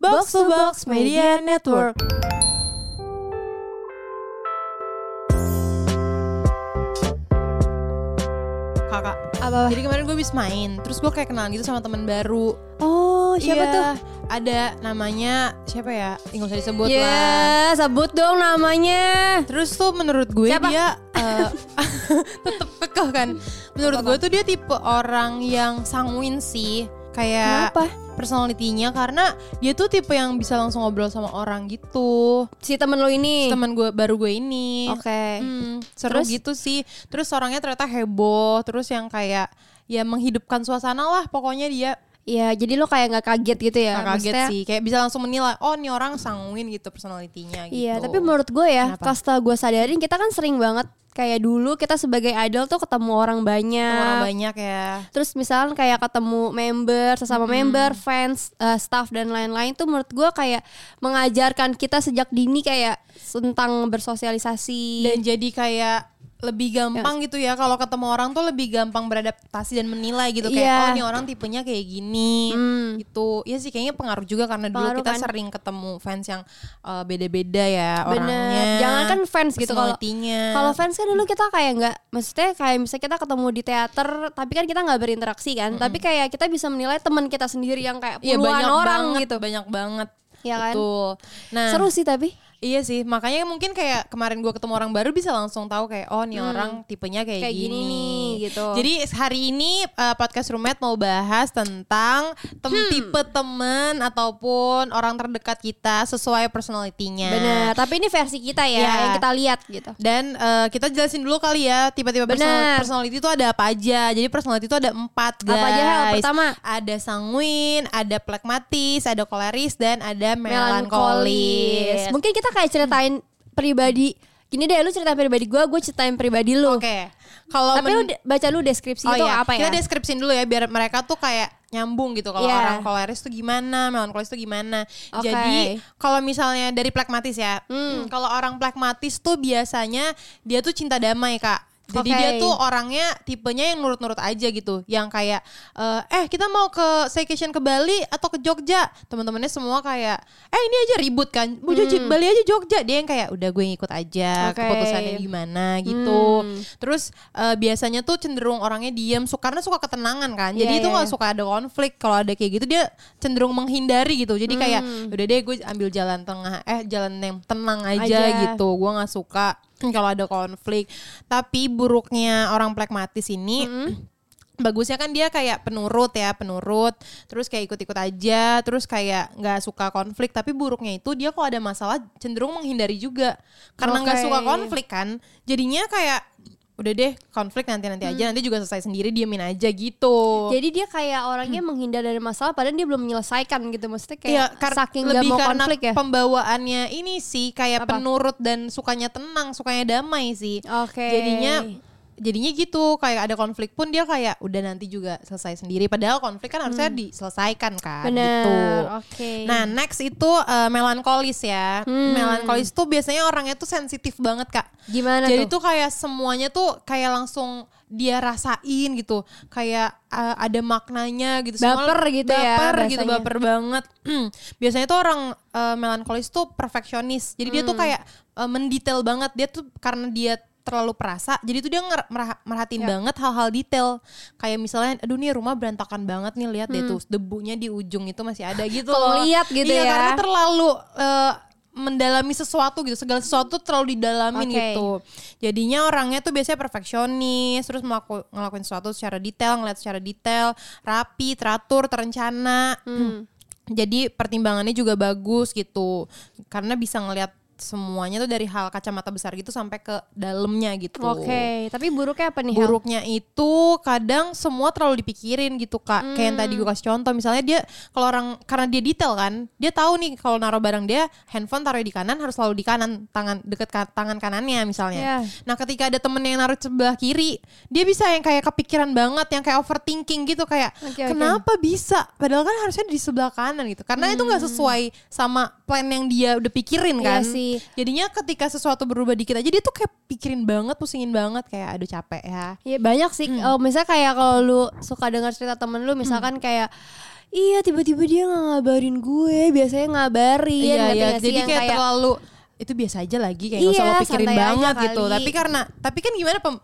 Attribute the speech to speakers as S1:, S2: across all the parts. S1: Box to Box Media Network.
S2: kakak
S1: Apa?
S2: jadi kemarin gue habis main terus gue kayak kenalan gitu sama teman baru
S1: Oh, siapa
S2: Iya,
S1: tuh?
S2: ada namanya siapa ya nggak usah disebut
S1: Ya,
S2: lah
S1: sebut dong namanya.
S2: terus tuh menurut gue
S1: Siapa?
S2: dia eh, tetep kekeh kan menurut gue tuh dia tipe orang yang sanguin sih kayak
S1: Kenapa?
S2: personalitinya karena dia tuh tipe yang bisa langsung ngobrol sama orang gitu
S1: Si temen lo ini.
S2: teman gue baru gue ini
S1: Oke.
S2: Hmm, seru
S1: Terus?
S2: gitu sih. Terus orangnya ternyata heboh, terus yang kayak ya menghidupkan suasana lah. Pokoknya dia
S1: Ya, jadi lo kayak nggak kaget gitu ya?
S2: nggak kaget
S1: Maksudnya-
S2: sih, kayak bisa langsung menilai, oh ini orang sanguin gitu personalitinya gitu.
S1: Iya, tapi menurut gue ya,
S2: Kenapa?
S1: kalau setelah gue sadarin kita kan sering banget kayak dulu kita sebagai idol tuh ketemu orang banyak.
S2: orang banyak ya.
S1: Terus misalnya kayak ketemu member, sesama
S2: Hmm.
S1: member, fans, eh, staff dan lain-lain tuh menurut gue kayak mengajarkan kita sejak dini kayak tentang bersosialisasi.
S2: Dan jadi kayak lebih gampang gitu ya kalau ketemu orang tuh lebih gampang beradaptasi dan menilai gitu kayak
S1: Iya. Hmm.
S2: oh ini orang tipenya kayak gini gitu ya sih kayaknya pengaruh juga karena dulu
S1: Pengaruh
S2: kita
S1: kan.
S2: sering ketemu fans yang eh, beda-beda ya orangnya
S1: Bener. Jangan kan fans gitu kalau
S2: personalitinya.
S1: kalau fans kan dulu kita kayak nggak, maksudnya kayak misalnya kita ketemu di teater, tapi kan kita nggak berinteraksi kan, tapi kayak kita bisa menilai teman kita sendiri yang kayak
S2: Iya
S1: puluhan
S2: banyak
S1: orang
S2: banget,
S1: gitu.
S2: banyak banget.
S1: Iya kan?
S2: Betul. Nah,
S1: Seru sih tapi.
S2: Iya sih, makanya mungkin kayak kemarin gua ketemu orang baru bisa langsung tahu kayak oh nih orang tipenya kayak,
S1: Hmm. Kayak gini
S2: gini.
S1: nih, gitu.
S2: Jadi hari ini eh, podcast Rumet mau bahas tentang tem
S1: Hmm.
S2: tipe temen ataupun orang terdekat kita sesuai personalitinya.
S1: Bener, tapi ini versi kita ya,
S2: Nah. Iya.
S1: yang kita lihat gitu.
S2: Dan eh, kita jelasin dulu kali ya tiba-tiba
S1: Benar.
S2: personal, personality itu ada apa aja. Jadi personality itu ada empat guys.
S1: Apa aja, Hel? Pertama.
S2: Ada sanguin, ada plekmatis, ada koleris, dan ada
S1: Melankolis.
S2: melankolis.
S1: Mungkin kita kayak ceritain pribadi. Gini deh, lu ceritain pribadi gua, gue ceritain pribadi lu.
S2: Oke. Kalau
S1: Tapi lu
S2: men-
S1: de- baca lu deskripsi
S2: oh
S1: itu
S2: iya,
S1: apa ya?
S2: Kita deskripsiin dulu ya biar mereka tuh kayak nyambung gitu kalau
S1: Iya.
S2: orang koleris tuh gimana, melankolis tuh gimana.
S1: Oke. Hmm.
S2: Jadi kalau misalnya dari plekmatis ya. Kalau orang plekmatis tuh biasanya dia tuh cinta damai, Kak. Jadi
S1: Oke.
S2: dia tuh orangnya tipenya yang nurut-nurut aja gitu, yang kayak eh, eh kita mau ke staycation ke Bali atau ke Jogja, teman-temannya semua kayak eh ini aja ribut kan, Bu Jogja- Bali aja Jogja, dia yang kayak udah gue ngikut aja
S1: Hmm. Oke.
S2: keputusannya gimana gitu.
S1: Hmm.
S2: Terus eh, biasanya tuh cenderung orangnya diem su- karena suka ketenangan kan. Jadi
S1: Iya,
S2: itu
S1: iya,
S2: nggak
S1: iya.
S2: suka ada konflik. Kalau ada kayak gitu dia cenderung menghindari gitu. Jadi kayak
S1: Hmm.
S2: udah deh gue ambil jalan tengah eh jalan yang tenang aja,
S1: Aja.
S2: gitu. Gue nggak suka kalau ada konflik. Tapi buruknya orang pragmatis ini
S1: Hmm.
S2: Bagusnya kan dia kayak penurut ya, penurut. Terus kayak ikut-ikut aja, terus kayak nggak suka konflik. Tapi buruknya itu dia kalau ada masalah cenderung menghindari juga. Karena nggak
S1: Oke.
S2: suka konflik kan. Jadinya kayak udah deh konflik nanti-nanti aja, nanti juga selesai sendiri, diemin aja gitu.
S1: Hmm. Jadi dia kayak orangnya menghindar dari masalah padahal dia belum menyelesaikan gitu. Maksudnya kayak
S2: Hmm. Iya, kar-
S1: saking gak mau
S2: karena
S1: konflik ya.
S2: pembawaannya ini sih kayak
S1: Apa?
S2: penurut dan sukanya tenang, sukanya damai sih.
S1: Oke.
S2: Jadinya jadinya gitu kayak ada konflik pun dia kayak udah nanti juga selesai sendiri padahal konflik kan harusnya diselesaikan kan
S1: Hmm. Bener,
S2: gitu.
S1: oke.
S2: Nah, next itu eh, melankolis ya.
S1: Hmm.
S2: Melankolis tuh biasanya orangnya tuh sensitif banget, Kak.
S1: Gimana
S2: Jadi
S1: tuh?
S2: tuh kayak semuanya tuh kayak langsung dia rasain gitu. Kayak eh, ada maknanya gitu.
S1: Baper gitu ya
S2: Baper gitu,
S1: bahasanya.
S2: baper banget. biasanya tuh orang eh, melankolis tuh perfeksionis. Jadi dia tuh
S1: Hmm.
S2: kayak eh, mendetail banget. Dia tuh karena dia terlalu perasa, jadi tuh dia nger- merha- merhatiin
S1: Ya.
S2: banget hal-hal detail. Kayak misalnya, aduh nih rumah berantakan banget nih lihat deh tuh debunya di ujung itu masih ada gitu gitu
S1: Hmm. Kalau
S2: loh.
S1: lihat gitu
S2: iya,
S1: ya.
S2: karena terlalu eh, mendalami sesuatu gitu segala sesuatu terlalu didalamin
S1: Oke.
S2: gitu jadinya orangnya tuh biasanya perfeksionis terus melaku, ngelakuin sesuatu secara detail ngeliat secara detail rapi teratur terencana jadi pertimbangannya juga bagus gitu karena bisa ngeliat semuanya tuh dari hal kacamata besar gitu sampai ke dalamnya gitu
S1: Oke, tapi buruknya apa nih? Hel?
S2: buruknya itu kadang semua terlalu dipikirin gitu kak kayak yang
S1: Hmm.
S2: tadi gue kasih contoh misalnya dia kalau orang karena dia detail kan dia tahu nih kalau naruh barang dia handphone taruh di kanan harus selalu di kanan tangan deket ka- tangan kanannya misalnya
S1: Iya.
S2: nah ketika ada temen yang naruh sebelah kiri dia bisa yang kayak kepikiran banget yang kayak overthinking gitu kayak
S1: Oke, oke.
S2: kenapa bisa padahal kan harusnya di sebelah kanan gitu karena itu nggak sesuai sama plan yang dia udah pikirin
S1: Hmm. Iya
S2: kan
S1: sih.
S2: jadinya ketika sesuatu berubah dikit aja dia tuh kayak pikirin banget pusingin banget kayak aduh capek ya Hmm.
S1: Iya banyak sih. Oh, misalnya kayak kalau lu suka dengar cerita temen lu, misalkan kayak iya tiba-tiba dia nggak ngabarin gue biasanya ngabarin
S2: Iya, iya.
S1: ngerti nggak sih?
S2: Jadi
S1: Yang
S2: kayak, terlalu itu biasa aja lagi kayak nggak usah
S1: Iya,
S2: lo pikirin
S1: santai aja
S2: banget gitu.
S1: kali.
S2: Tapi karena tapi kan gimana pem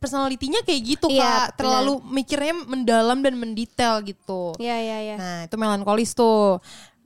S2: personalitinya kayak gitu
S1: Iya,
S2: Kak, terlalu mikirnya mendalam dan mendetail gitu.
S1: iya iya iya
S2: Nah, itu melankolis tuh.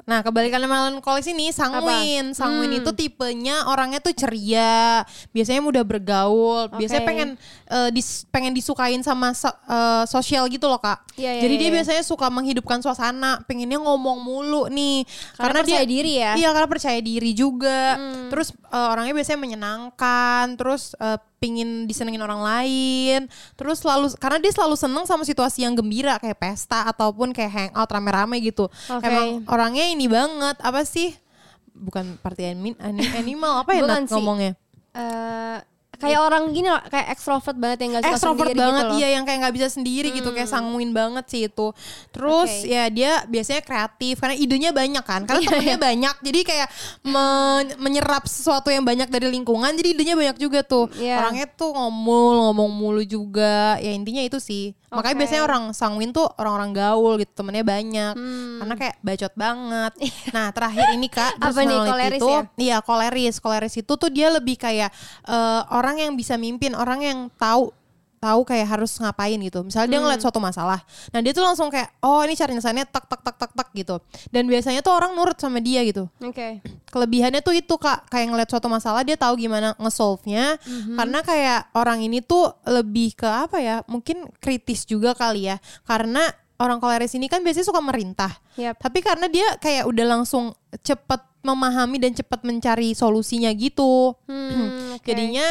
S2: Nah, kebalikannya melankolis ini sanguin. Sanguin
S1: Hmm.
S2: itu tipenya orangnya tuh ceria, biasanya mudah bergaul, biasanya
S1: Oke.
S2: pengen eh, dis- pengen disukain sama so- eh, sosial gitu loh, Kak.
S1: Iya, iya,
S2: Jadi
S1: iya,
S2: dia
S1: iya.
S2: biasanya suka menghidupkan suasana, pengennya ngomong mulu nih.
S1: Karena percaya
S2: dia,
S1: diri ya?
S2: Iya, karena percaya diri juga.
S1: Hmm.
S2: Terus eh, orangnya biasanya menyenangkan, terus eh, pingin disenengin orang lain. Terus selalu karena dia selalu seneng sama situasi yang gembira kayak pesta ataupun kayak hangout rame-rame gitu.
S1: Oke.
S2: Emang orangnya ini banget apa sih? Bukan party anim- ani- animal apa ya
S1: Bukan
S2: Nat
S1: sih.
S2: ngomongnya?
S1: Eh, kayak orang gini loh kayak ekstrovert banget yang nggak suka
S2: ekstrovert
S1: sendiri
S2: banget
S1: gitu loh. Hmm.
S2: iya yang kayak nggak bisa sendiri gitu kayak sanguin banget sih itu terus
S1: Oke. Iya,
S2: ya dia biasanya kreatif karena idenya banyak kan karena temennya banyak jadi kayak men- menyerap sesuatu yang banyak dari lingkungan jadi idenya banyak juga tuh
S1: Iya.
S2: orangnya tuh ngomul ngomong mulu juga ya intinya itu sih makanya
S1: Oke.
S2: biasanya orang sanguin tuh orang-orang gaul gitu temennya banyak
S1: Hmm.
S2: karena kayak bacot banget
S1: Iya.
S2: nah terakhir ini kak
S1: Apa nih,
S2: personality
S1: koleris
S2: itu
S1: ya?
S2: Iya koleris, koleris itu tuh dia lebih kayak eh, orang yang bisa mimpin, orang yang tahu tahu kayak harus ngapain gitu. Misalnya
S1: Hmm.
S2: dia ngeliat suatu masalah, nah dia tuh langsung kayak oh ini cari nyelesainnya tak tak tak tak tak gitu. Dan biasanya tuh orang nurut sama dia gitu.
S1: oke
S2: Kelebihannya tuh itu kak kayak ngeliat suatu masalah dia tahu gimana ngesolve-nya.
S1: Mhm.
S2: Karena kayak orang ini tuh lebih ke apa ya? Mungkin kritis juga kali ya. Karena orang koleris ini kan biasanya suka merintah.
S1: Yap.
S2: Tapi karena dia kayak udah langsung cepet memahami dan cepet mencari solusinya gitu.
S1: Hmm, oke.
S2: Jadinya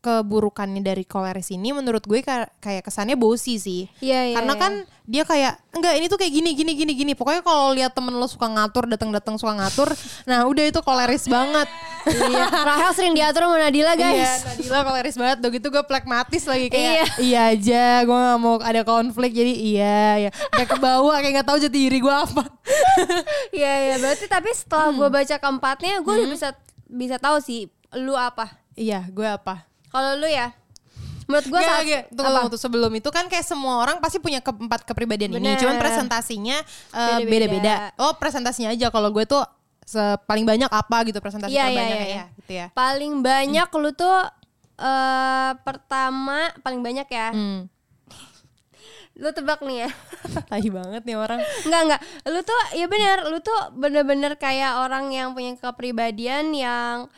S2: keburukannya dari koleris ini menurut gue ka- kayak kesannya bosi sih.
S1: Iya, iya,
S2: Karena
S1: iya.
S2: kan dia kayak enggak ini tuh kayak gini gini gini gini. Pokoknya kalau lihat temen lo suka ngatur, datang-datang suka ngatur, nah udah itu koleris banget.
S1: Iya, Rahel sering diatur sama
S2: Iya,
S1: Nadila guys
S2: Nadila koleris banget. Udah gitu gue pragmatis lagi kayak
S1: Iya.
S2: iya aja, gue gak mau ada konflik jadi iya ya. Kayak kebawa kayak gak tahu jati diri gue apa.
S1: Iya iya berarti tapi setelah gue
S2: Hmm.
S1: baca keempatnya gue udah bisa bisa tahu sih lu apa.
S2: Iya, gue apa?
S1: Kalau lu ya menurut gue
S2: Gak,
S1: saat
S2: gak, tunggu,
S1: apa?
S2: tunggu, tunggu. sebelum itu kan kayak semua orang pasti punya keempat kepribadian ini.
S1: Bener.
S2: Cuman presentasinya eh,
S1: Beda-beda.
S2: beda-beda. Oh, presentasinya aja kalau gue tuh se- paling banyak apa gitu presentasi
S1: Iya, iya,
S2: terbanyak
S1: iya,
S2: ya,
S1: iya.
S2: gitu ya. Hmm.
S1: Paling banyak lu tuh eh pertama paling banyak ya.
S2: Hmm.
S1: Lu tebak nih ya.
S2: Tai banget nih orang.
S1: Enggak enggak. Lu tuh ya benar, lu tuh bener-bener kayak orang yang punya kepribadian yang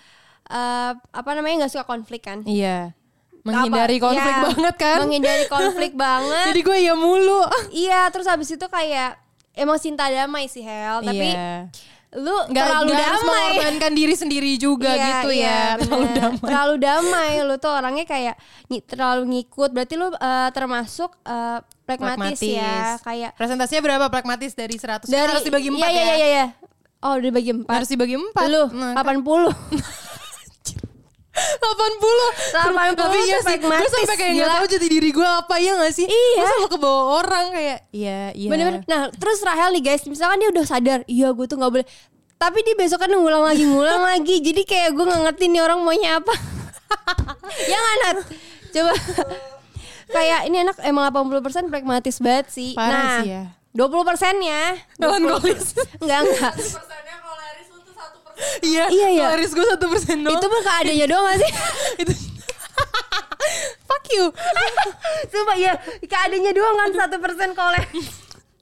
S1: eh apa namanya nggak suka konflik kan.
S2: Iya. Menghindari
S1: Apa?
S2: konflik
S1: Ya,
S2: banget kan.
S1: Menghindari konflik banget.
S2: Jadi gue iya mulu.
S1: Iya, terus habis itu kayak emang cinta damai sih Hel, Oh, tapi
S2: Iya.
S1: lu
S2: Nggak-
S1: terlalu
S2: nggak harus
S1: damai.
S2: mengorbankan diri sendiri juga
S1: Iya,
S2: gitu
S1: iya,
S2: ya. Terlalu
S1: bener.
S2: damai.
S1: Terlalu damai lu tuh orangnya kayak nyi- terlalu ngikut. Berarti lu eh, termasuk eh, pragmatis, ya, kayak
S2: Presentasinya berapa pragmatis dari 100? Kan harus dibagi 4 ya.
S1: iya, Iya, iya, iya. Oh, dibagi empat.
S2: Harus dibagi 4.
S1: Lu
S2: Nah,
S1: 80.
S2: 80
S1: 80
S2: Tapi iya
S1: tuh
S2: sih Gue
S1: pragmatis,
S2: sampai kayak gak
S1: gila.
S2: tau jati diri gue apa Iya gak sih
S1: Iya.
S2: Gue selalu kebawa orang kayak Iya iya
S1: Bener-bener. Nah, terus Rahel nih guys, misalkan dia udah sadar, iya gue tuh nggak boleh. Tapi dia besok kan ngulang lagi, ngulang lagi. Jadi kayak gue nggak ngerti nih orang maunya apa. ya nggak Nat? Coba. kayak ini anak emang 80% pragmatis banget sih. nah,
S2: Parah sih ya.
S1: 20 persennya
S2: Melankolis
S1: ya. Enggak, enggak.
S3: persennya koleris lu tuh satu persen
S2: Iya
S1: Iya, iya.
S2: Laris gue 1% doang
S1: Itu mah keadaannya doang gak sih?
S2: Itu Fuck you
S1: Sumpah ya, keadaannya doang kan 1% koleh.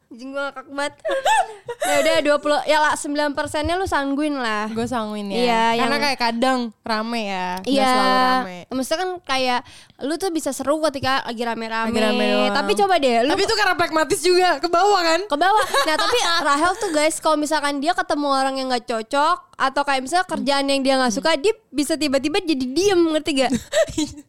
S1: Anjing gue ngakak banget. Ya udah 20, ya lah 9 persennya lu sangguin lah.
S2: Gue sanguin ya
S1: Iya,
S2: Karena
S1: yang-
S2: kayak kadang rame ya Gak selalu
S1: Iya,
S2: rame
S1: maksudnya kan kayak lu tuh bisa seru ketika lagi rame-rame.
S2: Lagi rame doang.
S1: tapi coba deh, lu
S2: Tapi itu karena pragmatis juga Kebawa kan
S1: ke bawah. Nah, tapi Rahel tuh guys, kalau misalkan dia ketemu orang yang nggak cocok atau kayak misalnya kerjaan yang dia nggak suka, dia bisa tiba-tiba jadi diem, ngerti gak?
S2: Iya,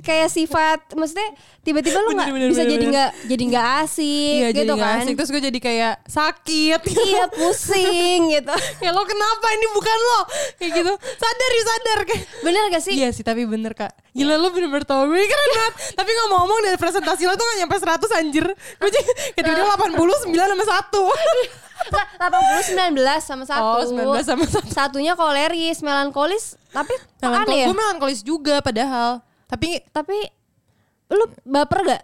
S1: kayak sifat, maksudnya tiba-tiba lu nggak
S2: Bener, bener,
S1: bisa
S2: bener,
S1: jadi
S2: bener.
S1: nggak jadi nggak asik
S2: Iya
S1: gitu
S2: jadi gak
S1: kan?
S2: asik Terus gue jadi kayak sakit
S1: Iya pusing gitu.
S2: Ya lo kenapa ini bukan lo Kayak gitu Sadar ya sadar kayak
S1: Bener gak sih?
S2: Iya sih tapi bener kak Gila lu bener-bener tau Gue keren banget Tapi ngomong-ngomong dari presentasi lo tuh gak nyampe 100 anjir Gue jadi
S1: Eh.
S2: Ketika 80, 9 sama 1
S1: 80 19 sama satu.
S2: Oh, 19 sama satu.
S1: Satunya koleris, melankolis, tapi kok
S2: Melankol,
S1: aneh ya?
S2: Gue melankolis juga padahal Tapi
S1: Tapi lu baper gak?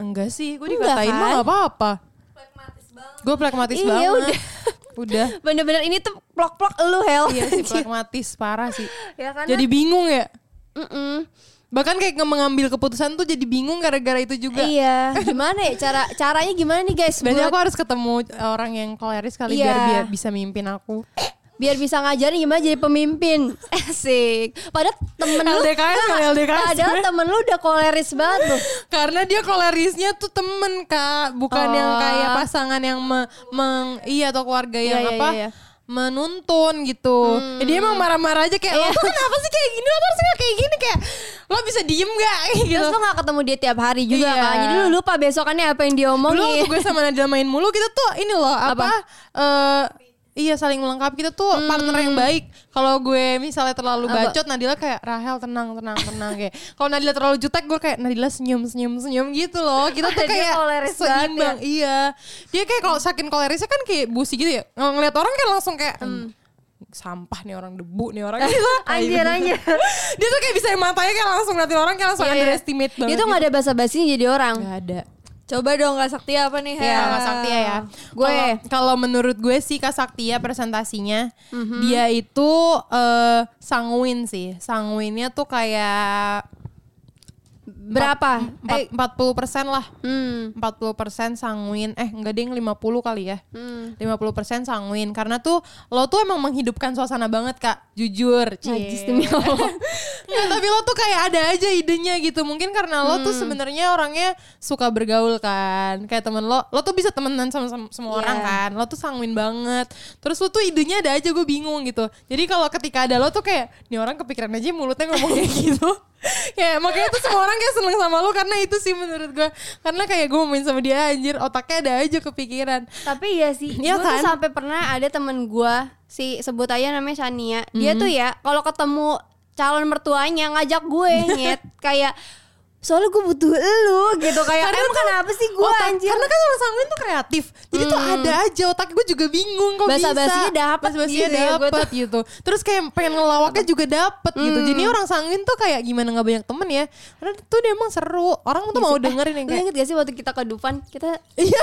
S2: enggak sih Gue
S1: Enggak,
S2: dikatain mah
S1: kan?
S2: gak apa-apa
S3: pragmatis banget banget.
S2: Gue pragmatis
S1: Iya,
S2: banget.
S1: udah.
S2: Udah.
S1: Bener-bener ini tuh plok-plok lu Hel. kan,
S2: Iya sih pragmatis parah sih.
S1: ya kan?
S2: Jadi bingung ya.
S1: Mm-mm.
S2: Bahkan kayak nge- mengambil keputusan tuh jadi bingung gara-gara itu juga.
S1: Iya, gimana ya cara caranya gimana nih guys
S2: Berarti
S1: buat-
S2: aku harus ketemu eh, orang yang koleris kali
S1: Iya.
S2: biar biar bisa mimpin aku.
S1: biar bisa ngajarin gimana jadi pemimpin. Asik. Padahal temen lu
S2: LDKS kali LDKS.
S1: Padahal temen lu udah koleris banget loh.
S2: Karena dia kolerisnya tuh temen kak, bukan
S1: Oh.
S2: yang kayak pasangan yang me- meng iya atau keluarga yang
S1: Iya, iya,
S2: apa
S1: iya.
S2: menuntun gitu. Ya, dia emang marah-marah aja kayak lo tuh kenapa sih kayak gini? Lo tuh harusnya nggak kayak gini kayak lo bisa diem gak? gitu.
S1: Terus lu gak ketemu dia tiap hari juga
S2: Iya.
S1: kan. Jadi lu lupa besokannya apa yang diomongin.
S2: Dulu waktu gue sama Nadila main mulu kita tuh ini loh apa? eh, iya saling melengkapi kita tuh partner yang baik. Kalau gue misalnya terlalu
S1: Hmm. Apa?
S2: bacot Nadila kayak Rahel tenang tenang tenang kayak. Kalau Nadila terlalu jutek gue kayak Nadila senyum senyum senyum gitu loh. Kita tuh
S1: Dia
S2: kayak
S1: koleris banget ya.
S2: seimbang. Iya. Dia kayak kalau saking kolerisnya kan kayak busi gitu ya. Ng- Ngeliat orang kan langsung kayak "Hmm, sampah nih orang debu nih orang gitu.
S1: Anjir, anjir.
S2: Dia tuh kayak bisa matanya kayak langsung ngeliatin orang kayak langsung
S1: Iya, iya.
S2: underestimate banget. gitu. Iya.
S1: Dia tuh gak ada basa-basinya jadi orang. Iya,
S2: Gak ada.
S4: Coba dong Kak Sakti apa nih?
S2: Ya,
S4: Hel?
S2: Kak Saktia ya.
S1: Gue-
S2: Gue kalau Mhm. menurut gue sih Kak Saktia presentasinya dia itu eh, sanguin sih. Sanguinnya tuh kayak
S1: Berapa?
S2: empat-
S1: Eh,
S2: 40% lah.
S1: hmm.
S2: 40% sanguin. Eh, enggak ding 50 kali ya.
S1: hmm.
S2: 50% sanguin karena tuh lo tuh emang menghidupkan suasana banget, Kak. Jujur. Cie.
S1: Najis demi Allah.
S2: Nggak, tapi lo tuh kayak ada aja idenya gitu. Mungkin karena lo tuh sebenarnya orangnya suka bergaul kan. Kayak temen lo, lo tuh bisa temenan sama, sama semua orang kan. Lo tuh sanguin banget. Terus lo tuh idenya ada aja gue bingung gitu. Jadi kalau ketika ada lo tuh kayak, nih orang kepikiran aja mulutnya ngomong kayak gitu. kayak makanya tuh semua orang kayak seneng sama lo karena itu sih menurut gue. Karena kayak gue main sama dia anjir otaknya ada aja kepikiran.
S1: Tapi iya sih,
S2: Iya
S1: gue
S2: kan?
S1: tuh sampai pernah ada temen gue si sebut aja namanya Shania. Dia
S2: Mm-hmm.
S1: tuh ya kalau ketemu calon mertuanya ngajak gue nyet kayak soalnya gue butuh elu gitu kayak
S2: Karena tuh
S1: emang kenapa sih gue
S2: otak-
S1: anjir
S2: Karena kan orang sanguin tuh kreatif. Jadi tuh ada aja otak gue juga bingung kok
S1: Hmm. Basa-basinya
S2: bisa.
S1: dapet
S2: Basa-basinya
S1: gitu ya, gue
S2: dapet gitu. Terus kayak pengen ngelawaknya juga dapet gitu. Jadi
S1: Hmm.
S2: orang sanguin tuh kayak gimana nggak banyak temen ya. Karena tuh dia emang seru. Orang
S1: Iya
S2: tuh mau dengerin yang
S1: Gitu. Lu
S2: kayak.
S1: inget gak sih waktu kita ke Dufan kita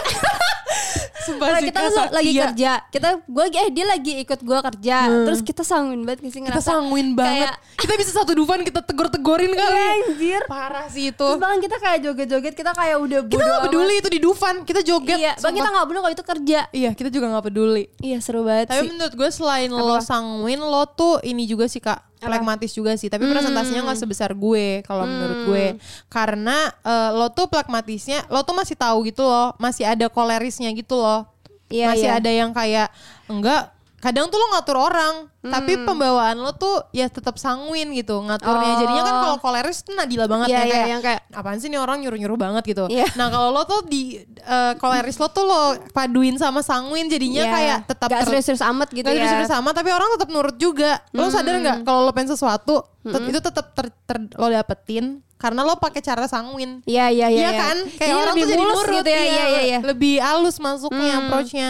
S2: Sumpah
S1: Lah,
S2: sih,
S1: Iya. kita
S2: Kak
S1: kan
S2: Sakti
S1: lagi
S2: ya. Hmm.
S1: kerja kita gue eh dia lagi ikut gue kerja terus kita sanguin banget gak sih
S2: Kita
S1: ngerasa
S2: sanguin banget.
S1: kayak,
S2: Kita bisa satu dufan kita tegor-tegorin kali.
S1: "Iya, anjir
S2: Parah sih itu.
S1: terus bahkan kita kayak joget-joget kita kayak udah
S2: Kita
S1: bodo
S2: gak
S1: amat.
S2: peduli itu di dufan. Kita joget.
S1: iya bahkan kita
S2: sumpah.
S1: nggak peduli kalau itu kerja
S2: Iya kita juga gak peduli.
S1: iya seru banget
S2: Tapi
S1: sih
S2: menurut gue selain lo sanguin lo tuh ini juga sih kak pragmatis juga sih
S1: Hmm.
S2: tapi presentasinya nggak sebesar gue kalau menurut gue karena eh, lo tuh pragmatisnya lo tuh masih tahu gitu loh masih ada kolerisnya gitu loh
S1: Iya,
S2: masih
S1: iya.
S2: ada yang kayak enggak kadang tuh lo ngatur orang tapi pembawaan lo tuh ya tetap sanguin gitu ngaturnya
S1: Hmm. Oh.
S2: jadinya kan kalau koleris tuh Nadila banget
S1: Iya,
S2: ya
S1: iya,
S2: kayak,
S1: yang kayak-
S2: apaan sih nih orang nyuruh-nyuruh banget gitu
S1: Iya.
S2: nah kalau lo tuh di eh, koleris lo tuh lo paduin sama sanguin jadinya
S1: Iya.
S2: kayak tetap
S1: Gak
S2: ter-
S1: serius-serius amat gitu
S2: Gak
S1: ya
S2: serius sama tapi orang tetap nurut juga. Lo
S1: Hmm.
S2: sadar nggak kalau lo pengen sesuatu tet- itu tetap ter- ter- lo dapetin karena lo pakai cara sanguin.
S1: Iya iya iya.
S2: Iya
S1: iya.
S2: kan? Kayak orang
S1: lebih
S2: tuh jadi
S1: mulus
S2: nurut
S1: gitu ya. Iya iya Hmm. iya.
S2: Lebih halus masuknya approach-nya.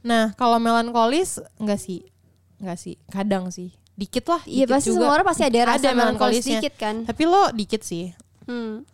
S2: Nah, kalau melankolis enggak sih? Enggak sih. Kadang sih. Dikit lah.
S1: Iya,
S2: dikit
S1: pasti semua orang pasti ada rasa melankolis
S2: melankolisnya.
S1: dikit kan.
S2: Tapi lo dikit sih.
S1: Hmm.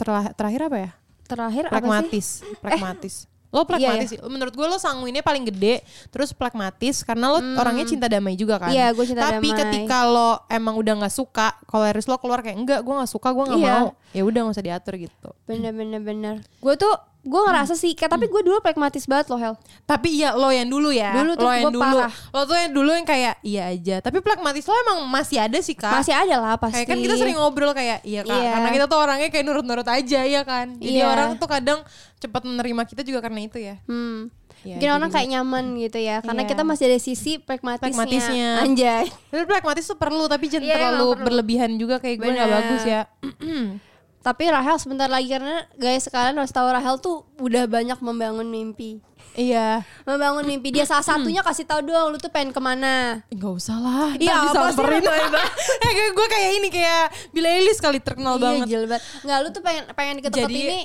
S2: Terla- terakhir apa ya?
S1: Terakhir apa sih?
S2: pragmatis pragmatis Iya, lo pragmatis sih. menurut gue lo sanguinnya paling gede terus pragmatis karena lo orangnya cinta damai juga kan
S1: Iya, gue cinta
S2: tapi
S1: damai.
S2: ketika lo emang udah nggak suka koleris lo keluar kayak enggak gue nggak suka gue nggak
S1: Iya.
S2: mau ya udah nggak usah diatur gitu
S1: Bener bener bener. Hmm. Gue tuh gue ngerasa sih, kayak- tapi gue dulu pragmatis banget loh Hel.
S2: tapi iya lo yang dulu ya
S1: Dulu tuh
S2: lo yang
S1: gue
S2: dulu
S1: parah.
S2: lo tuh yang dulu yang kayak iya aja tapi pragmatis lo emang masih ada sih kak
S1: Masih ada lah pasti.
S2: Kayak kan kita sering ngobrol kayak iya kak,
S1: Iya.
S2: karena kita tuh orangnya kayak nurut-nurut aja ya kan. Jadi
S1: Iya.
S2: orang tuh kadang cepat menerima kita juga karena itu ya.
S1: Hmm.
S2: Iya,
S1: Mungkin orang
S2: jadi-
S1: kayak nyaman gitu ya, karena
S2: Iya.
S1: kita masih ada sisi pragmatisnya.
S2: Pragmatisnya.
S1: Anjay.
S2: Tapi pragmatis tuh perlu tapi jangan
S1: Iya,
S2: terlalu
S1: emang perlu.
S2: berlebihan juga kayak gue nggak
S1: Bener.
S2: bagus ya.
S1: Tapi Rahel sebentar lagi karena guys sekalian harus tahu Rahel tuh udah banyak membangun mimpi.
S2: iya.
S1: Membangun mimpi dia salah satunya kasih tahu doang lu tuh pengen kemana.
S2: Enggak usah lah. Ntar
S1: Iya, apa sih,
S2: disamperin. Eh kayak gue kayak ini kayak Bila Eilish kali terkenal
S1: iya
S2: banget.
S1: gila banget. Nggak lu tuh pengen pengen deket-deket
S2: Jadi-
S1: ini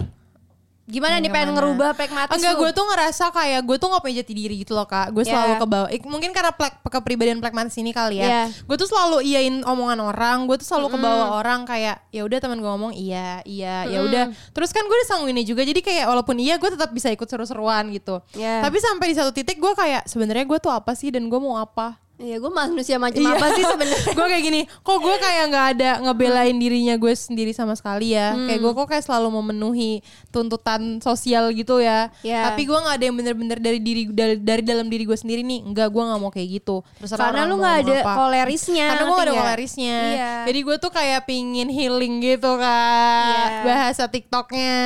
S1: Gimana nih pengen ngerubah pragmatis
S2: Enggak,
S1: lu?
S2: gue tuh ngerasa kayak gue tuh gak punya jati diri gitu loh kak. Gue selalu
S1: Yeah.
S2: ke bawah. Ik- Mungkin karena plek, kepribadian pragmatis ini kali ya.
S1: Yeah.
S2: Gue tuh selalu iyain omongan orang. Gue tuh selalu ke bawah orang kayak ya udah teman gue ngomong iya iya ya udah. Terus kan gue disangguinnya juga. Jadi kayak walaupun iya gue tetap bisa ikut seru-seruan gitu.
S1: Yeah.
S2: Tapi sampai di satu titik gue kayak sebenarnya gue tuh apa sih dan gue mau apa?
S1: Iya gue manusia macam
S2: Iya.
S1: apa sih sebenarnya? Hmm.
S2: gue kayak gini kok gue kayak nggak ada ngebelain dirinya gue sendiri sama sekali ya kayak gue kok kayak selalu memenuhi tuntutan sosial gitu ya
S1: Ya.
S2: tapi gue nggak ada yang bener-bener dari diri dari, dari dalam diri gue sendiri nih enggak gue nggak mau kayak gitu terus
S1: Karena lu nggak ada kolerisnya.
S2: karena gue
S1: ngerti
S2: gak ada
S1: nggak?
S2: kolerisnya
S1: Iya.
S2: jadi gue tuh kayak pingin healing gitu kak
S1: Iya. Ah.
S2: bahasa tiktoknya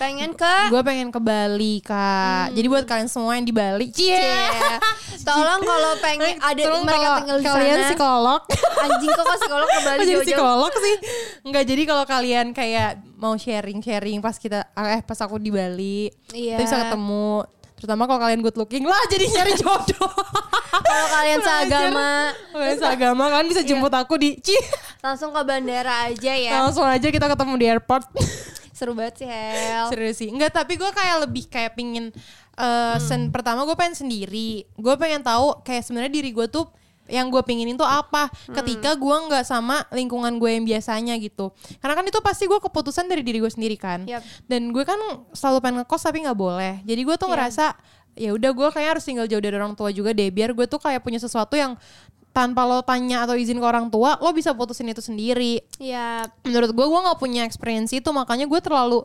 S1: pengen ke
S2: gue pengen ke Bali kak jadi
S1: Hmm.
S2: buat kalian semua yang di Bali cie
S1: Iya. Tolong kalau pengen ada
S2: Tolong
S1: mereka
S2: kalau
S1: tinggal di
S2: kalian
S1: sana.
S2: psikolog
S1: Anjing kok ke psikolog ke
S2: Kok
S1: Bali
S2: jadi
S1: jauh-jauh?
S2: psikolog sih nggak jadi kalau kalian kayak mau sharing sharing pas kita eh pas aku di Bali
S1: Iya.
S2: kita bisa ketemu terutama kalau kalian good looking lah jadi nyari jodoh
S1: Kalau kalian seagama
S2: kalian seagama kan
S1: Iya.
S2: bisa jemput aku di Ci
S1: langsung ke bandara aja ya.
S2: langsung aja kita ketemu di airport
S1: Seru banget sih Hel.
S2: serius Iya, sih nggak tapi gue kayak lebih kayak pingin eh sen pertama gue pengen sendiri gue pengen tahu kayak sebenarnya diri gue tuh yang gue pinginin tuh apa ketika gue nggak sama lingkungan gue yang biasanya gitu karena kan itu pasti gue keputusan dari diri gue sendiri kan
S1: Yap.
S2: dan gue kan selalu pengen ngekos tapi nggak boleh jadi gue tuh ngerasa ya udah gue kayak harus tinggal jauh dari orang tua juga deh biar gue tuh kayak punya sesuatu yang tanpa lo tanya atau izin ke orang tua lo bisa putusin itu sendiri
S1: Iya.
S2: menurut gue gue nggak punya experience itu makanya gue terlalu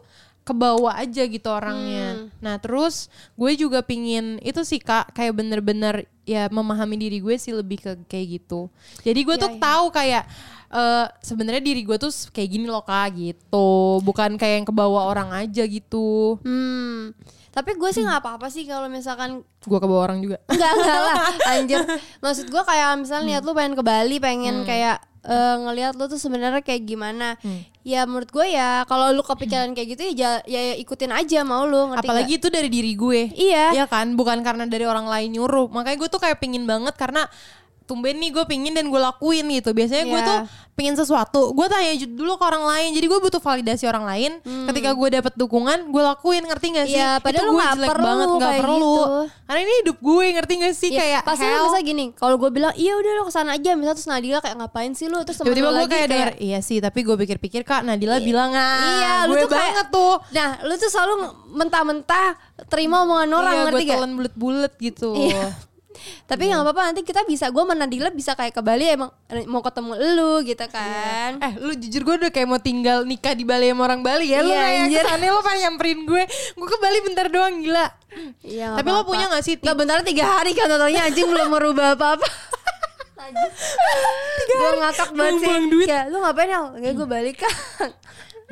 S2: kebawa aja gitu orangnya. Nah terus gue juga pingin itu sih kak kayak bener-bener ya memahami diri gue sih lebih ke kayak gitu. Jadi gue tuh tahu kayak eh sebenarnya diri gue tuh kayak gini loh kak gitu, bukan kayak yang kebawa orang aja gitu.
S1: Hmm. Tapi gue sih nggak apa-apa sih kalau misalkan
S2: Gue kebawa orang juga.
S1: Enggak, enggak lah anjir maksud gue kayak misalnya lihat lu
S2: Hmm.
S1: pengen ke Bali pengen kayak eh, ngelihat lu tuh sebenarnya kayak gimana
S2: Hmm.
S1: ya menurut gue ya kalau lu kepikiran kayak gitu ya, ja- ya ikutin aja mau lu ngerti
S2: Apalagi itu dari diri gue.
S1: Iya.
S2: Iya kan, bukan karena dari orang lain nyuruh. Makanya gue tuh kayak pingin banget karena tumben nih gue pingin dan gue lakuin gitu. Biasanya gue
S1: Iya.
S2: tuh pingin sesuatu, gue tanya ju- dulu ke orang lain. Jadi gue butuh validasi orang lain. Ketika gue dapet dukungan, gue lakuin. Ngerti gak sih?
S1: Hmm. Iya, padahal lu
S2: gue
S1: nggak perlu
S2: nggak
S1: kayak
S2: perlu.
S1: gitu.
S2: Karena ini hidup gue, ngerti gak sih?
S1: Iya,
S2: kayak
S1: pasti
S2: hell.
S1: lu bisa gini kalau gue bilang iya udah lu kesana aja misalnya terus Nadila kayak ngapain sih lu terus temen
S2: Tiba-tiba
S1: lu
S2: gue
S1: lagi
S2: kayak denger, iya sih tapi gue pikir-pikir kak Nadila bilang ah
S1: Iya, lu
S2: gue
S1: tuh kayak-
S2: banget tuh
S1: nah lu tuh selalu nge- mentah-mentah terima omongan orang
S2: iya,
S1: ngerti
S2: gue
S1: gak
S2: telan bulet-bulet gitu
S1: Iya. tapi
S2: Iya.
S1: nggak apa-apa nanti kita bisa gue sama Nadila bisa kayak ke Bali emang eh, mau ketemu lu gitu kan
S2: Eh lu jujur gue udah kayak mau tinggal nikah di Bali sama orang Bali ya Lu
S1: Iya,
S2: kayak
S1: anjir.
S2: kesannya lu pengen nyamperin gue Gue ke Bali bentar doang gila
S1: Iya,
S2: Tapi lo punya gak sih
S1: Gak bentar tiga hari kan totalnya anjing belum merubah apa-apa Gue ngakak banget sih
S2: Buang-buang duit.
S1: Kayak, Lu ngapain ya? Enggak gue balik kan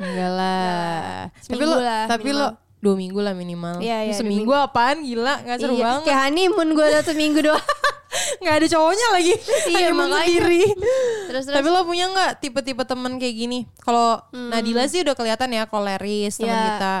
S2: Enggak lah Tapi
S1: Seminggu
S2: lo
S1: lah,
S2: Tapi lo Dua minggu lah minimal
S1: Iya,
S2: Lu
S1: iya, dua
S2: Seminggu apaan gila Gak Kan seru
S1: Iya,
S2: banget
S1: Kayak honeymoon gue udah seminggu doang
S2: Gak ada cowoknya lagi
S1: Iya,
S2: Honeymoon
S1: makanya.
S2: sendiri.
S1: Terus terus
S2: Tapi lo punya gak tipe-tipe temen kayak gini Kalau Nadila sih udah kelihatan ya Koleris temen
S1: Iya.
S2: kita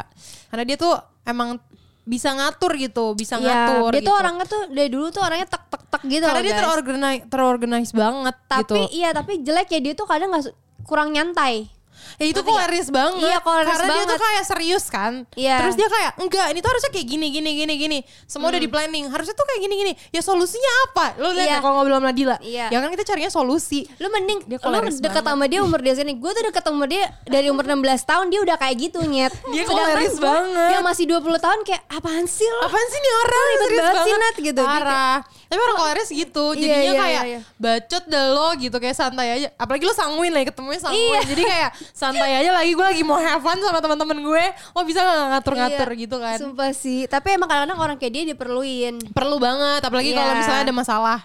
S2: Karena dia tuh emang bisa ngatur gitu Bisa
S1: Iya,
S2: ngatur
S1: Dia
S2: gitu
S1: tuh orangnya tuh dari dulu tuh orangnya tek tek tek gitu
S2: Karena
S1: loh,
S2: dia
S1: guys.
S2: terorganize, terorganize banget
S1: Tapi
S2: gitu
S1: iya tapi jelek ya dia tuh kadang gak su- kurang nyantai
S2: Ya itu koleris banget.
S1: Iya, koleris
S2: Karena dia tuh
S1: banget.
S2: kayak serius kan.
S1: Iya.
S2: Terus dia kayak enggak, ini tuh harusnya kayak gini gini gini gini. Semua udah di planning. Harusnya tuh kayak gini gini. Ya solusinya apa? Lo lihat
S1: Hmm. Iya.
S2: nggak kalau ngobrol sama Nadila.
S1: Iya.
S2: Ya kan kita carinya solusi.
S1: lu mending
S2: Dia
S1: lu
S2: koleris
S1: deket sama dia umur dia sini gue tuh deket sama dia dari umur 16 tahun dia udah kayak gitu nyet
S2: Dia
S1: Sedangkan
S2: koleris
S1: gua
S2: banget.
S1: yang masih 20 tahun kayak apaan sih lo
S2: Apaan sih nih orang
S1: Lu ribet
S2: Serius
S1: banget sih, Nat, gitu. Dia
S2: Parah. Tapi orang koleris gitu.
S1: Iya,
S2: Jadinya
S1: iya,
S2: kayak
S1: iya, iya.
S2: bacot dah lo gitu kayak santai aja. Apalagi lo sanguin lagi ketemunya sanguin.
S1: Iya.
S2: Jadi kayak santai aja lagi gue lagi mau have fun sama teman-teman gue. Lo bisa nggak ngatur-ngatur
S1: Iya,
S2: gitu kan?
S1: sumpah sih tapi emang kadang-kadang orang kayak dia diperluin
S2: Perlu banget apalagi
S1: Iya.
S2: kalau misalnya ada masalah.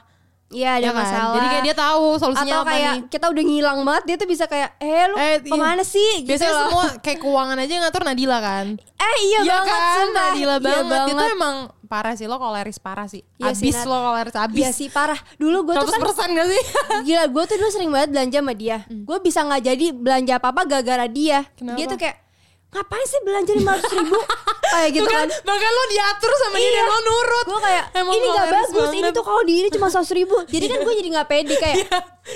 S1: iya
S2: Ya
S1: ada
S2: kan?
S1: masalah
S2: Jadi kayak dia tahu solusinya
S1: atau
S2: apa
S1: kayak
S2: nih.
S1: kita udah ngilang banget dia tuh bisa kayak eh lu
S2: Eh, iya.
S1: kemana sih gitu
S2: Biasanya
S1: loh.
S2: semua kayak keuangan aja yang ngatur Nadila kan.
S1: eh iya, banget sumpah
S2: Nadila
S1: Iya
S2: kan? banget. Itu
S1: banget.
S2: emang parah sih lo koleris parah sih.
S1: Iya sih,
S2: abis
S1: Nat.
S2: lo koleris abis.
S1: Iya sih parah dulu gue tuh
S2: 100%
S1: kan
S2: gak sih?
S1: Gila gue tuh dulu sering banget belanja sama dia Gue bisa gak jadi belanja apa-apa gara-gara dia
S2: Hmm. Kenapa?
S1: Dia tuh kayak Ngapain sih belanja 500 ribu kayak gitu
S2: Tuh
S1: kan. Iya.
S2: bahkan lo diatur sama dia dan lo nurut
S1: Gue kayak
S2: Emang
S1: ini
S2: lo
S1: nggak
S2: harus
S1: bagus, ini
S2: banget. Iya.
S1: tuh kalau di ini cuma seratus ribu. Jadi kan gue jadi nggak pede kayak.
S2: ya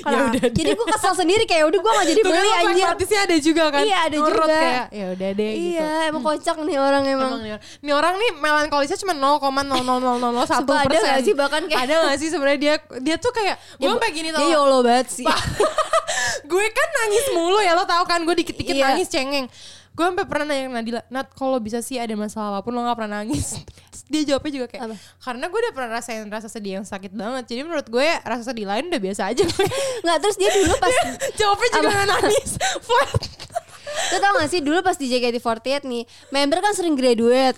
S1: "Kenapa?"
S2: udah
S1: jadi gue kesel sendiri kayak udah gue nggak jadi
S2: Tuh kan
S1: beli
S2: lo
S1: anjir.
S2: pragmatisnya ada juga kan
S1: Iya, ada
S2: Nurut
S1: juga.
S2: kayak ya udah deh gitu
S1: Iya emang kocak nih orang emang.
S2: Emang nih orang- nih orang nih melankolisnya cuma 0,00001
S1: Sumpah, ada
S2: persen.
S1: nggak sih bahkan kayak- Ya,
S2: ada nggak sih sebenarnya dia dia tuh kayak gue sampai gini tau.
S1: Dia yolo banget sih.
S2: gue kan nangis mulu ya lo tau kan gue dikit-dikit
S1: Iya.
S2: nangis cengeng. Gue sampai pernah nanya ke Nadila, Nat kalau bisa sih ada masalah apapun lo gak pernah nangis. Terus dia jawabnya juga kayak,
S1: Apa?
S2: karena gue udah pernah rasain rasa sedih yang sakit banget. Jadi menurut gue rasa sedih lain udah biasa aja.
S1: Nggak terus dia dulu pas
S2: jawabnya juga
S1: Apa?
S2: gak nangis. Flat.
S1: Lo tau gak sih dulu pas di JKT48 nih Member kan sering graduate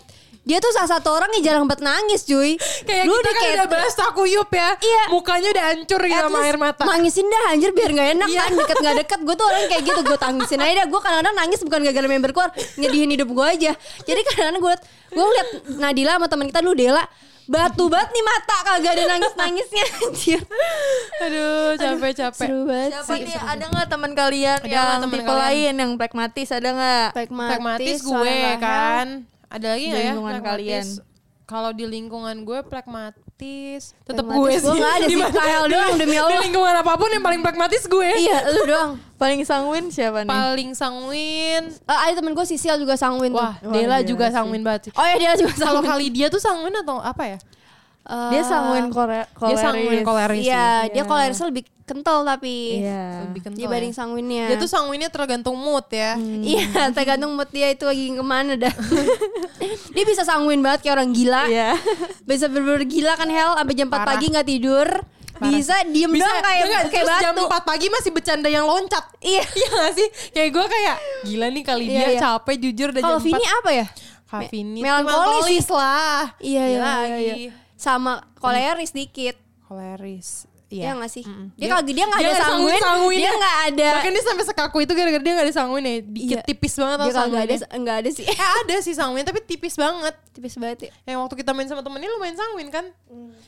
S1: Dia tuh salah satu orang yang jarang banget nangis cuy
S2: Kayak
S1: Dulu
S2: kita
S1: dia
S2: kan
S1: kayak,
S2: udah bahas takuyup ya.
S1: Iya.
S2: Mukanya udah hancur gitu
S1: "At
S2: sama
S1: least
S2: air mata.
S1: Nangisin dah anjir biar gak enak
S2: Iya.
S1: kan Deket gak deket Gue tuh orang kayak gitu Gue tangisin aja dah Gue kadang-kadang nangis bukan gara-gara member keluar Ngedihin hidup gue aja Jadi kadang-kadang gue liat Gue ngeliat Nadila sama temen kita Lu Dela Batu banget nih mata Kagak ada nangis-nangisnya anjir
S2: Aduh, capek-capek.
S1: Seru banget
S4: Siapa
S1: sih
S4: nih? Ada nggak teman kalian
S2: Ada nggak
S4: yang
S2: teman
S4: tipe
S2: kalian?
S4: lain yang pragmatis ada nggak?
S2: Pragmatis gue kan. Ada lagi nggak
S4: Di
S2: ya?
S4: lingkungan
S2: pragmatis?
S4: kalian.
S2: Kalau di lingkungan gue pragmatis, tetap gue
S1: Pragmatis
S2: sih.
S1: gue nggak ada sih,
S2: Di mana-
S1: Kael doang,
S2: di-
S1: demi Allah.
S2: Di lingkungan apapun yang paling pragmatis gue. Iya.
S1: Iya lu doang
S4: Paling sangwin siapa nih?
S2: Paling sanguin.
S1: Eh, Ada temen gue Sisil juga sangwin tuh.
S2: Wah,
S4: Wah,
S2: Dela
S4: gila
S2: juga
S4: sih.
S2: sanguin banget sih.
S1: Oh iya dia juga
S2: Kalau
S1: sangwin
S2: kali dia tuh sanguin atau apa ya?
S4: dia
S1: Eh,
S4: sangwin kore koleris.
S2: Dia sanguin koleris. sih.
S1: Iya, dia
S4: Iya.
S1: kolerisnya lebih kental tapi
S4: Iya.
S2: Lebih kental
S1: dibanding
S2: ya.
S1: sanguinnya.
S2: Dia tuh sanguinnya tergantung mood ya.
S1: Iya, tergantung mood dia itu lagi kemana dah. dia bisa sanguin banget kayak orang gila.
S4: Iya.
S1: Bisa bener-bener gila kan Hel, sampai jam 4
S2: Parah.
S1: pagi nggak tidur. Bisa diem
S2: Bisa
S1: doang kayak
S2: enggak,
S1: kayak
S2: terus
S1: batu.
S2: jam 4 pagi masih bercanda yang loncat. Iya. iya gak sih? Kayak gue kayak gila nih kali
S1: Iya,
S2: dia
S1: iya.
S2: capek jujur udah
S1: Kalau
S2: jam
S1: Vini apa ya?
S2: Kak Vini
S1: melankolis.
S2: lah.
S1: Iya, iya,
S2: Gila
S1: iya,
S2: lagi.
S1: iya. Sama koleris dikit.
S2: Koleris.
S1: Iya nggak sih?
S2: Mm-mm.
S1: Dia kalau dia nggak ada sanguin,
S2: sanguin-sanguinnya.
S1: dia nggak ada.
S2: Bahkan dia sampai sekaku itu gara-gara dia nggak ada sanguin ya. Dikit
S1: Iya.
S2: tipis banget
S1: Dia
S2: tau
S1: kalau nggak ada
S2: sanguinnya.
S1: nggak ada sih.
S2: Eh ada sih sanguin tapi tipis banget.
S1: Tipis banget. ya.
S2: Yang waktu kita main sama temennya lumayan sanguin kan.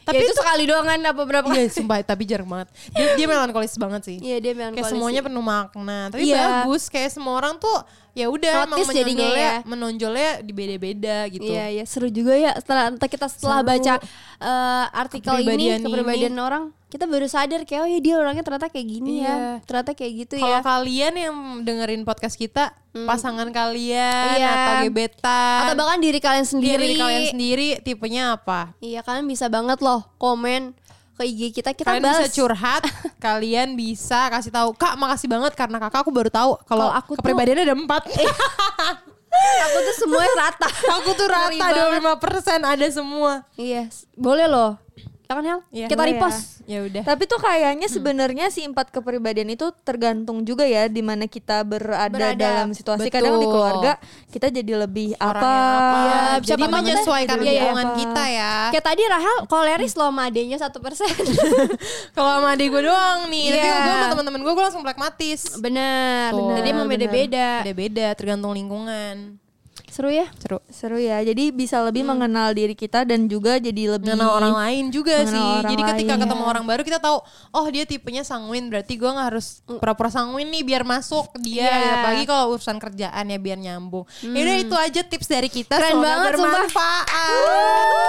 S1: Tapi Hmm. itu, sekali doang kan apa berapa
S2: Iya
S1: kali?
S2: sumpah tapi jarang banget. Dia, dia melankolis banget sih.
S1: Iya dia melankolis.
S2: Kayak semuanya penuh makna. Tapi
S1: Iya.
S2: bagus kayak semua orang tuh ya udah emang
S1: Notice jadinya
S2: menonjolnya,
S1: ya.
S2: menonjolnya di beda-beda gitu.
S1: Iya iya seru juga ya setelah entah kita setelah
S2: Seru.
S1: baca eh, artikel
S2: Kepribadian
S1: ini kepribadian orang kita baru sadar kayak oh ya dia orangnya ternyata kayak gini
S2: Iya.
S1: ya ternyata kayak gitu
S2: Kalau
S1: ya
S2: kalian yang dengerin podcast kita, pasangan kalian
S1: Hmm. Iya.
S2: atau gebetan
S1: atau bahkan diri kalian
S2: iya,
S1: sendiri
S2: diri kalian sendiri tipenya apa?
S1: iya kalian bisa banget loh komen ke IG kita kita
S2: kalian
S1: bahas
S2: bisa curhat, kalian bisa kasih tahu, "Kak, makasih banget karena Kakak aku baru tahu kalau
S1: Kalau aku Iya,
S2: aku kepribadiannya ada empat
S1: aku tuh semuanya rata
S2: aku tuh
S1: Ngeri
S2: rata
S1: banget.
S2: 25% ada semua.
S1: iya s- boleh loh ya kan Hel
S2: Iya,
S1: kita
S2: boleh
S1: repost
S2: Ya Hmm. udah.
S4: Tapi tuh kayaknya sebenarnya si empat kepribadian itu tergantung juga ya di mana kita berada,
S1: Berada.
S4: dalam situasi.
S2: Betul.
S4: Kadang di keluarga kita jadi lebih
S2: Orang yang
S4: apa?
S2: apa.
S1: Iya,
S2: jadi
S1: siapa Iya, tahu
S2: menyesuaikan
S1: kita jadi
S2: lingkungan
S4: apa.
S2: kita ya.
S1: kayak tadi Rahel koleris loh sama adenya satu persen
S2: Kalau sama adik gue doang nih, tapi
S1: Iya.
S2: kalau gue sama teman-teman gue gue langsung pragmatis.
S1: benar
S2: Tuh.
S1: Oh, jadi emang
S4: Benar.
S1: beda-beda
S2: Beda-beda tergantung lingkungan.
S1: Iya. seru ya
S2: Seru.
S4: Seru ya. Jadi bisa lebih mengenal diri kita dan juga jadi lebih
S2: Hmm. Mengenal orang lain juga
S4: Mengenal
S2: sih.
S4: orang
S2: Jadi ketika
S4: lain.
S1: ya.
S2: ketemu orang baru kita tahu, oh dia tipenya sanguin, berarti gue nggak harus pura-pura sanguin nih biar masuk dia.
S1: Mm. Iya. Hmm.
S2: Apalagi kalau urusan kerjaan ya biar nyambung. Ya udah itu aja tips dari kita.
S1: Keren
S2: Semoga
S1: banget, sumpah.
S2: bermanfaat.